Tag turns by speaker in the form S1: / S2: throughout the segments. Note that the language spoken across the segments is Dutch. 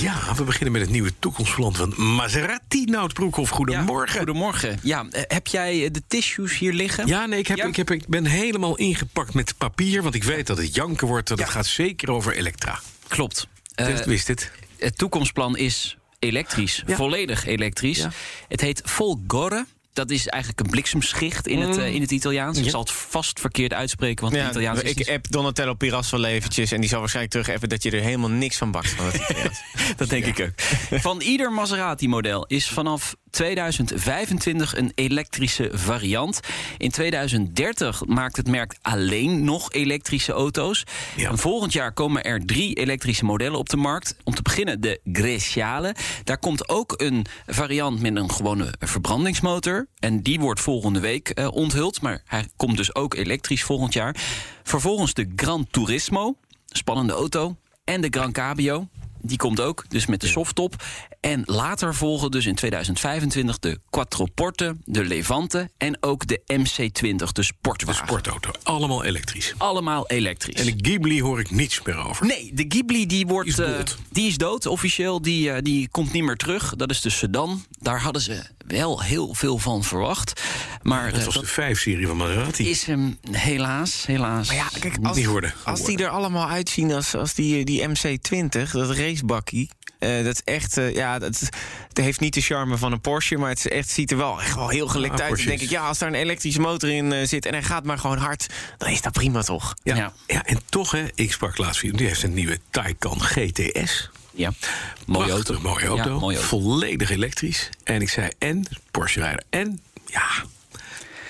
S1: Ja, we beginnen met het nieuwe toekomstplan van Maserati. Nout Broekhoff, goedemorgen.
S2: Ja, goedemorgen. Ja, eh, heb jij eh, de tissues hier liggen?
S1: Ja, nee, ik, heb,
S2: Ja.
S1: Ik, heb, ik ben helemaal ingepakt met papier. Want ik weet dat het janken wordt. Dat het gaat zeker over Elektra.
S2: Klopt. Eh,
S1: Dat wist het.
S2: het toekomstplan is elektrisch.
S1: Ja.
S2: Volledig elektrisch.
S1: Ja.
S2: Het heet Folgore. Dat is eigenlijk een bliksemschicht in
S1: Mm.
S2: het, eh, in het Italiaans. Ik zal het vast verkeerd uitspreken, want het Italiaans is
S3: ik
S2: niet-
S3: app Donatello Piras wel eventjes. En die zal waarschijnlijk terug appen dat je er helemaal niks van bakt. Van het Italiaans.
S2: Dat denk ik ook. Van ieder Maserati-model is vanaf 2025 een elektrische variant. In 2030 maakt het merk alleen nog elektrische auto's.
S1: Ja.
S2: En volgend jaar komen er drie elektrische modellen op de markt. Om te beginnen de Greciale. Daar komt ook een variant met een gewone verbrandingsmotor. En die wordt volgende week eh, onthuld. Maar hij komt dus ook elektrisch volgend jaar. Vervolgens de Gran Turismo. Spannende auto. En de Gran Cabrio. Die komt ook, dus met de softtop. En later volgen dus in 2025 de Quattroporte, de Levante... en ook de MC20, de
S1: De
S2: sportwagen.
S1: sportauto. Allemaal elektrisch.
S2: Allemaal elektrisch.
S1: En de Ghibli hoor ik niets meer over.
S2: Nee, de Ghibli die wordt,
S1: Is
S2: eh,
S1: dood.
S2: die is dood officieel. Die, eh, die komt niet meer terug. Dat is de sedan. Daar hadden ze wel heel veel van verwacht. Maar eh,
S1: Dat was de 5-serie van Maserati.
S2: is hem helaas, helaas... Maar ja,
S3: Kijk,
S1: Moet niet worden.
S3: als die er allemaal uitzien als, als die, eh, die MC20, dat racebakkie. eh, dat is echt, eh, ja, dat, het heeft niet de charme van een Porsche, maar het is echt, ziet er wel echt wel heel gelekt
S1: Ja,
S3: uit. Dan
S1: Porsche
S3: denk ik,
S1: is-
S3: ja, als daar een elektrische motor in eh, zit en hij gaat maar gewoon hard, dan is dat prima toch?
S1: Ja, ja.
S2: Ja.
S1: en toch, hè, ik sprak laatst weer. Die heeft een nieuwe Taycan GTS.
S2: mooie
S1: Prachtig,
S2: auto.
S1: Mooie auto.
S2: Ja, mooie auto.
S1: Volledig elektrisch. En ik zei, en Porsche-rijder. En, ja,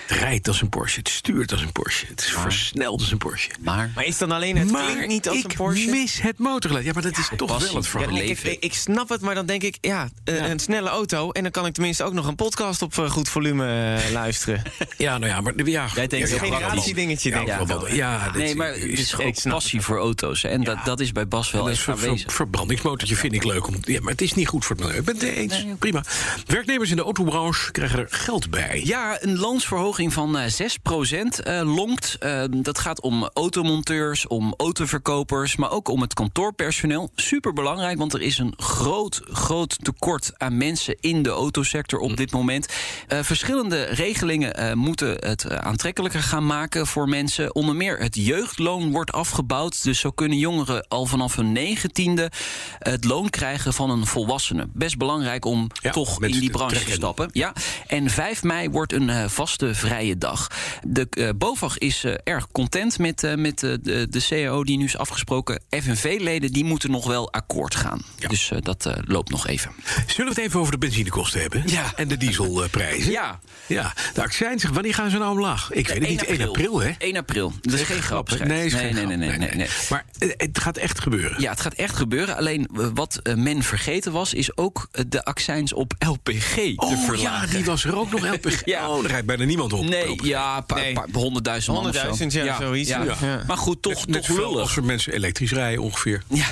S1: het rijdt als een Porsche. Het stuurt als een Porsche. Het is versneld als een Porsche.
S2: Maar
S3: Maar is dan alleen het
S1: maar
S3: klinkt niet als
S1: ik
S3: een Porsche?
S1: mis het motorgeluid. Ja, maar dat is toch
S2: passie.
S1: wel het
S2: Ja,
S1: verhaal.
S2: nee,
S3: Ik,
S2: leven.
S3: ik, ik snap het, maar dan denk ik, ja, eh, een snelle auto. En dan kan ik tenminste ook nog een podcast op eh, goed volume eh, luisteren.
S1: Ja, nou ja, maar... Ja,
S2: Jij denkt
S1: ja,
S2: een
S1: ja,
S3: generatiedingetje,
S1: ja,
S3: denk ik.
S1: wel wat- Ja, dit
S2: Nee, maar het is gewoon
S3: ik snap
S2: passie voor auto's. hè. En dat, dat is bij Bas wel
S1: Een
S2: echt
S1: ver- ver-
S2: aanwezig.
S1: verbrandingsmotortje vind ik leuk. Om, ja, maar het is niet goed voor het milieu. Ik ben het eens. Prima. Werknemers in de autobranche krijgen er geld bij.
S2: Ja, een loonsverhoging van eh, 6% eh lonkt. Eh, dat gaat om automonteurs, om autoverkopers, maar ook om het kantoorpersoneel. Superbelangrijk, want er is een groot, groot tekort aan mensen in de autosector op dit moment. Eh, verschillende regelingen eh, moeten het eh, aantrekkelijker gaan maken voor mensen. Onder meer het jeugdloon wordt afgebouwd. Dus zo kunnen jongeren al vanaf hun negentiende het loon krijgen van een volwassene. Best belangrijk om
S1: Ja,
S2: toch in
S1: mensen
S2: die
S1: te
S2: branche te
S1: trekken.
S2: stappen stappen. Ja. En 5 mei wordt een eh, vaste vrije dag. De eh, BOVAG is eh, erg content met, eh, met eh, de, de CAO die nu is afgesproken. FNV-leden die moeten nog wel akkoord gaan. Dus eh, dat eh, loopt nog even.
S1: Zullen we het even over de benzinekosten hebben?
S2: Ja.
S1: En de dieselprijzen?
S2: Ja.
S1: ja. De accijns, wanneer gaan ze nou omlaag? Ik weet het niet. 1 april, hè?
S2: 1 april. Dat is geen grap,
S1: hè?
S2: schijnt.
S1: Nee, is
S2: nee,
S1: geen
S2: nee,
S1: grap.
S2: nee, nee, nee, nee.
S1: Maar eh, het gaat echt gebeuren.
S2: Ja, het gaat echt gebeuren. Alleen eh, wat eh, men vergeten was, is ook eh, de accijns op LPG te
S1: Oh ja,
S2: verlagen.
S1: die was er ook nog LPG.
S2: Ja.
S1: Oh, daar rijdt bijna niemand op.
S2: Nee,
S1: Op.
S2: ja, een paar-
S3: Nee.
S2: paar- honderdduizend man of zo.
S3: 100.000, ja, zoiets. Ja. Ja.
S2: Maar goed, toch,
S1: Net- net
S2: toch
S1: zoveel
S2: lullig.
S1: als er mensen elektrisch rijden ongeveer.
S2: Ja.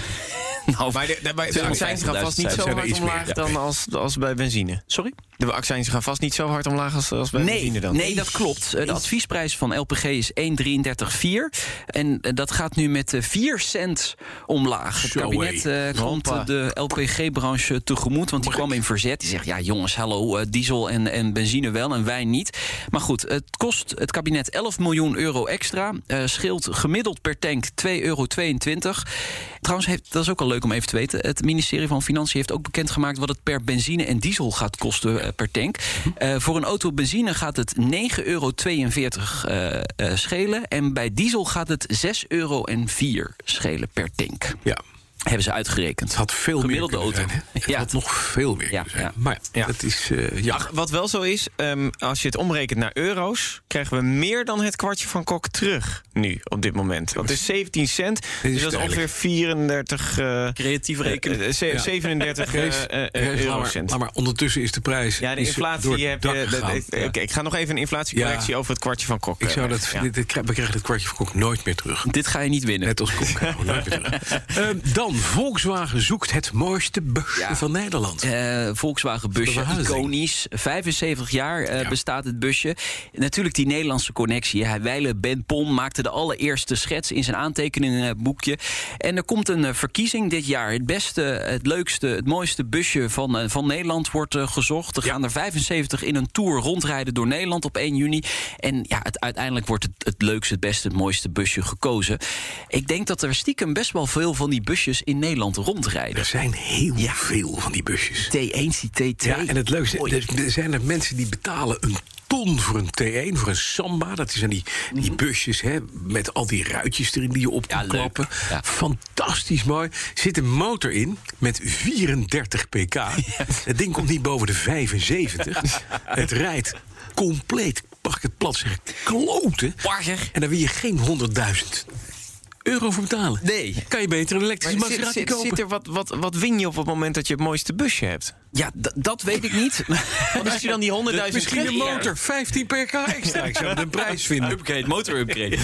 S2: Nou,
S3: Maar de, de, maar de
S2: Zijn er
S3: accijns gaan vast niet
S2: 50.000
S3: zo
S1: zijn er
S3: hard
S1: iets
S3: omlaag
S1: meer, ja.
S3: dan als, als bij benzine.
S2: Sorry?
S3: De accijns gaan vast niet zo hard omlaag als, als bij benzine dan.
S2: Nee, dat klopt. Eh, De adviesprijs van LPG is 1,334. En eh, dat gaat nu met eh, 4 cent omlaag. Het
S1: Zo,
S2: kabinet
S1: hé.
S2: eh, komt eh, de LPG-branche tegemoet. Want die kwam in verzet. Die zegt, ja jongens, hallo, eh, diesel en, en benzine wel en wij niet. Maar goed, het kost het kabinet 11 miljoen euro extra. Eh, scheelt gemiddeld per tank 2,22 euro. Trouwens, heeft, dat is ook wel leuk om even te weten. Het ministerie van Financiën heeft ook bekendgemaakt... wat het per benzine en diesel gaat kosten eh, per tank. Eh, voor een auto benzine gaat het 9,42 euro eh, eh, schelen. En bij diesel gaat het 6,04 euro schelen per tank.
S1: Ja.
S2: Hebben ze uitgerekend.
S1: Het had veel
S2: Gemiddelde
S1: meer kunnen
S2: auto.
S1: zijn, hè? Het
S2: Ja.
S1: had nog veel meer
S2: Ja,
S1: kunnen zijn.
S2: ja.
S1: Maar
S3: Ja.
S1: dat is... eh, ja.
S3: Ach, wat wel zo is, ehm, als je het omrekent naar euro's, krijgen we meer dan het kwartje van Kok terug nu op dit moment. Want het is 17 cent,
S1: is
S3: dus dat is
S1: duidelijk.
S3: ongeveer 34. eh,
S2: Creatief
S3: eh, eh, ze- 37 eh,
S1: Kees,
S3: eh,
S1: Kees, laat maar,
S3: eurocent.
S1: laat maar ondertussen is de prijs...
S3: Ja, de
S1: is door
S3: inflatie
S1: het
S3: heb
S1: dak
S3: je. dat-
S1: gegaan.
S3: ik-
S2: eh,
S3: Oké, ik ga nog even een inflatiecorrectie
S1: Ja.
S3: over het kwartje van Kok.
S1: Ik zou
S3: eh,
S1: dat,
S3: ja.
S1: dit- dit krijg- we krijgen het kwartje van Kok nooit meer terug.
S2: Dit ga je niet winnen.
S1: Net als Kok. krijgen we nooit meer terug. Ehm, dan, Volkswagen zoekt het mooiste busje
S2: Ja.
S1: van Nederland.
S2: Eh, Volkswagen busje,
S1: Dat was een
S2: iconisch. 75 jaar eh,
S1: Ja.
S2: bestaat het busje. Natuurlijk die Nederlandse connectie. Hij wijlen Ben Pon maakte de allereerste schets in zijn aantekeningenboekje. En er komt een eh, verkiezing dit jaar. Het beste, het leukste, het mooiste busje van, eh, van Nederland wordt eh, gezocht. Er
S1: Ja.
S2: gaan er 75 in een tour rondrijden door Nederland op 1 juni. En ja, het, uiteindelijk wordt het, het leukste, het beste, het mooiste busje gekozen. Ik denk dat er stiekem best wel veel van die busjes in Nederland rondrijden.
S1: Er zijn heel veel van die busjes.
S2: T1, die T2.
S1: Ja, en het leukste,
S2: E. Mooi.
S1: er- er zijn er mensen die betalen een ton voor een T1, voor een Samba. Dat zijn die, die busjes hè, met al die ruitjes erin die je op
S2: Ja,
S1: kan
S2: leuk.
S1: klappen.
S2: Ja.
S1: Fantastisch mooi. Zit een motor in met 34 pk. Het ding komt niet boven de 75. het rijdt compleet, mag ik het plat zeggen, kloten.
S2: Parger.
S1: En daar wil je geen 100.000 euro voor betalen.
S2: Nee.
S1: Kan je beter een
S3: Maar
S1: elektrische
S3: zit,
S1: Maserati
S3: zit-
S1: kopen.
S3: zit er wat, wat, wat win je op het moment dat je het mooiste busje hebt?
S2: Ja, d- dat weet ik niet.
S3: Want als je dan die 100.000
S1: Misschien een
S3: terug-
S1: motor, 15 pk extra. Ik zou het een prijs vinden.
S2: upgrade, motor upgrade.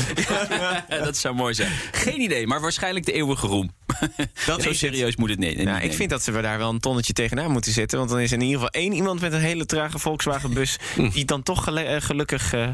S2: dat zou mooi zijn. Geen idee, maar waarschijnlijk de eeuwige roem. Dat Zo
S3: is het.
S2: serieus moet het nee, nee,
S3: Nou,
S2: niet
S3: ik vind dat ze we daar wel een tonnetje tegenaan moeten zetten. Want dan is er in ieder geval één iemand met een hele trage Volkswagenbus...
S1: Hm.
S3: die dan toch gele- eh, gelukkig... eh,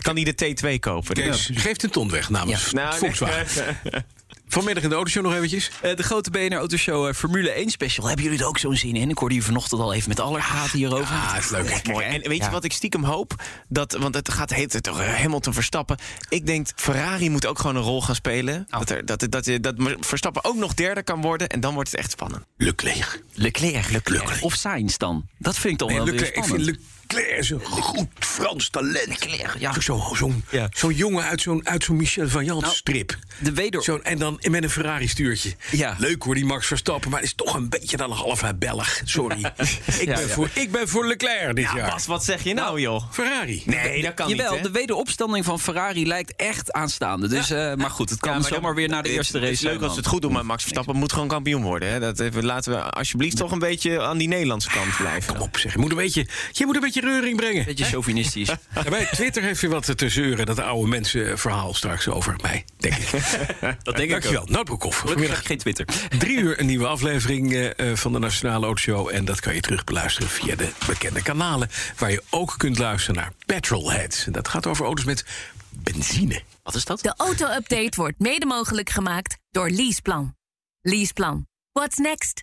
S3: kan die de T2 kopen.
S1: Kees, geeft een ton weg namens
S3: Ja. Nou,
S1: Volkswagen. Vanmiddag in de autoshow nog eventjes.
S2: Eh, de grote BNR Autoshow eh, Formule 1 special. Hebben jullie er ook zo'n zin in? Ik hoorde hier vanochtend al even met Aller praten hierover.
S1: Ah, is leuk.
S3: Mooi. En weet
S2: Ja.
S3: je wat ik stiekem hoop? Dat, want het gaat heet het toch eh, Hamilton Verstappen. Ik denk, Ferrari moet ook gewoon een rol gaan spelen. Dat, er, dat, dat, dat, Verstappen ook nog derde kan worden. En dan wordt het echt spannend.
S1: Leclerc.
S2: Leclerc,
S1: Leclerc.
S2: Of Sainz dan? Dat vind ik dan
S1: Nee,
S2: wel weer
S1: Leclerc. Ik vind
S2: spannend.
S1: Leclerc is een goed Frans talent. Leclerc,
S2: ja. Nou.
S1: Zo'n zo'n
S3: Ja.
S1: zo'n jongen uit zo'n uit zo'n Michel Vaillant strip.
S2: de weder-
S1: Zo'n- en dan met een Ferrari stuurtje.
S2: Ja.
S1: Leuk hoor, die Max Verstappen. Maar het is toch een beetje dan een half Belg. Sorry. ik,
S2: Ja,
S1: ben
S2: ja.
S1: Voor, ik ben voor Leclerc dit jaar.
S3: Bas, wat zeg je nou, joh?
S1: Ferrari.
S3: Nee, dat kan
S2: Jawel,
S3: niet,
S2: de
S3: hè?
S2: wederopstanding van Ferrari lijkt echt aanstaande. Dus, eh, maar goed, het kan
S3: Ja, maar
S2: zomaar
S3: dan-
S2: weer naar de
S3: het-
S2: eerste race
S3: Het is
S2: zijn
S3: leuk als
S2: dan.
S3: ze het goed doen, maar Max Verstappen moet gewoon kampioen worden. Hè? Dat even, laten we alsjeblieft toch een beetje aan die Nederlandse kant blijven.
S1: Kom op zeg, je moet een beetje, je moet een beetje reuring brengen.
S2: Beetje chauvinistisch.
S1: Ja, Bij Twitter heeft je wat te zeuren, dat oude mensen verhaal straks over mij, denk ik.
S2: Dat denk ik
S1: Dankjewel,
S2: ook.
S1: Noordbroekhoff.
S2: Gelukkig
S1: Vanmiddag
S2: geen Twitter.
S1: drie uur een nieuwe aflevering eh, eh, van de Nationale Autoshow. En dat kan je terug beluisteren via de bekende kanalen... waar je ook kunt luisteren naar Petrolheads. En dat gaat over auto's met benzine.
S2: Wat is dat?
S4: De auto-update wordt mede mogelijk gemaakt door Leaseplan. Leaseplan. What's next?